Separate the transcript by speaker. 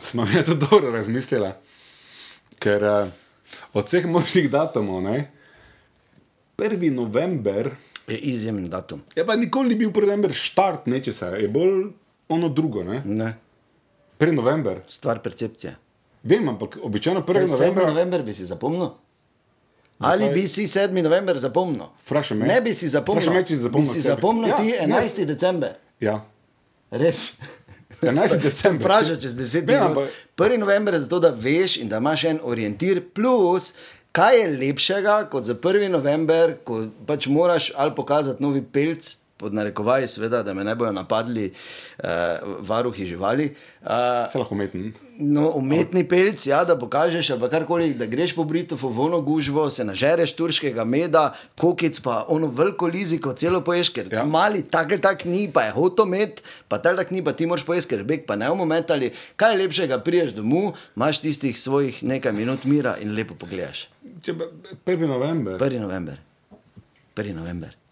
Speaker 1: Smo mi to dobro razmislili, ker uh, od vseh možnih datumov, ne, 1. november
Speaker 2: Je izjemen datum.
Speaker 1: je pa nikoli ni bil 1. november štart nečesa, je bolj ono drugo, ne.
Speaker 2: Ne.
Speaker 1: 1. november.
Speaker 2: Stvar percepcije.
Speaker 1: Vem, ampak običajno 1.
Speaker 2: November.
Speaker 1: november.
Speaker 2: november bi si zapomnil. Ali bi si 7. november zapomnil?
Speaker 1: Vprašaj me.
Speaker 2: Ne bi si zapomnil.
Speaker 1: Vprašaj me, če si zapomnil
Speaker 2: bi si
Speaker 1: sebi.
Speaker 2: zapomnil
Speaker 1: Ja,
Speaker 2: ja, ti
Speaker 1: ne.
Speaker 2: 11. Ne. december.
Speaker 1: Ja.
Speaker 2: Res.
Speaker 1: 11. december.
Speaker 2: Vprašaj čez 10
Speaker 1: Vem,
Speaker 2: minut.
Speaker 1: ampak-
Speaker 2: 1. november je zato, da veš in da imaš en orientir, plus kaj je lepšega kot za 1. november, ko pač moraš ali pokazati novi pelc. Pod narekovaji, seveda, da me ne bodo napadli uh, varuhi živali. Uh,
Speaker 1: Se lahko umetni.
Speaker 2: No, umetni pelc, ja, da pokažeš, ali pa karkoli, da greš po Britofu, v ono gužvo, se nažereš turškega meda, kokic pa ono veliko liziko, celo poješ, ker
Speaker 1: Ja.
Speaker 2: ja. mali tak ali tak ni, pa je hotomet, pa tak ali tak ni, pa ti moraš pojesti, ker beg pa ne omometali. Kaj je lepšega, priješ domov, imaš tistih svojih nekaj minut mira in lepo pogledaš.
Speaker 1: Če pa 1. november.
Speaker 2: 1. november. 1. november.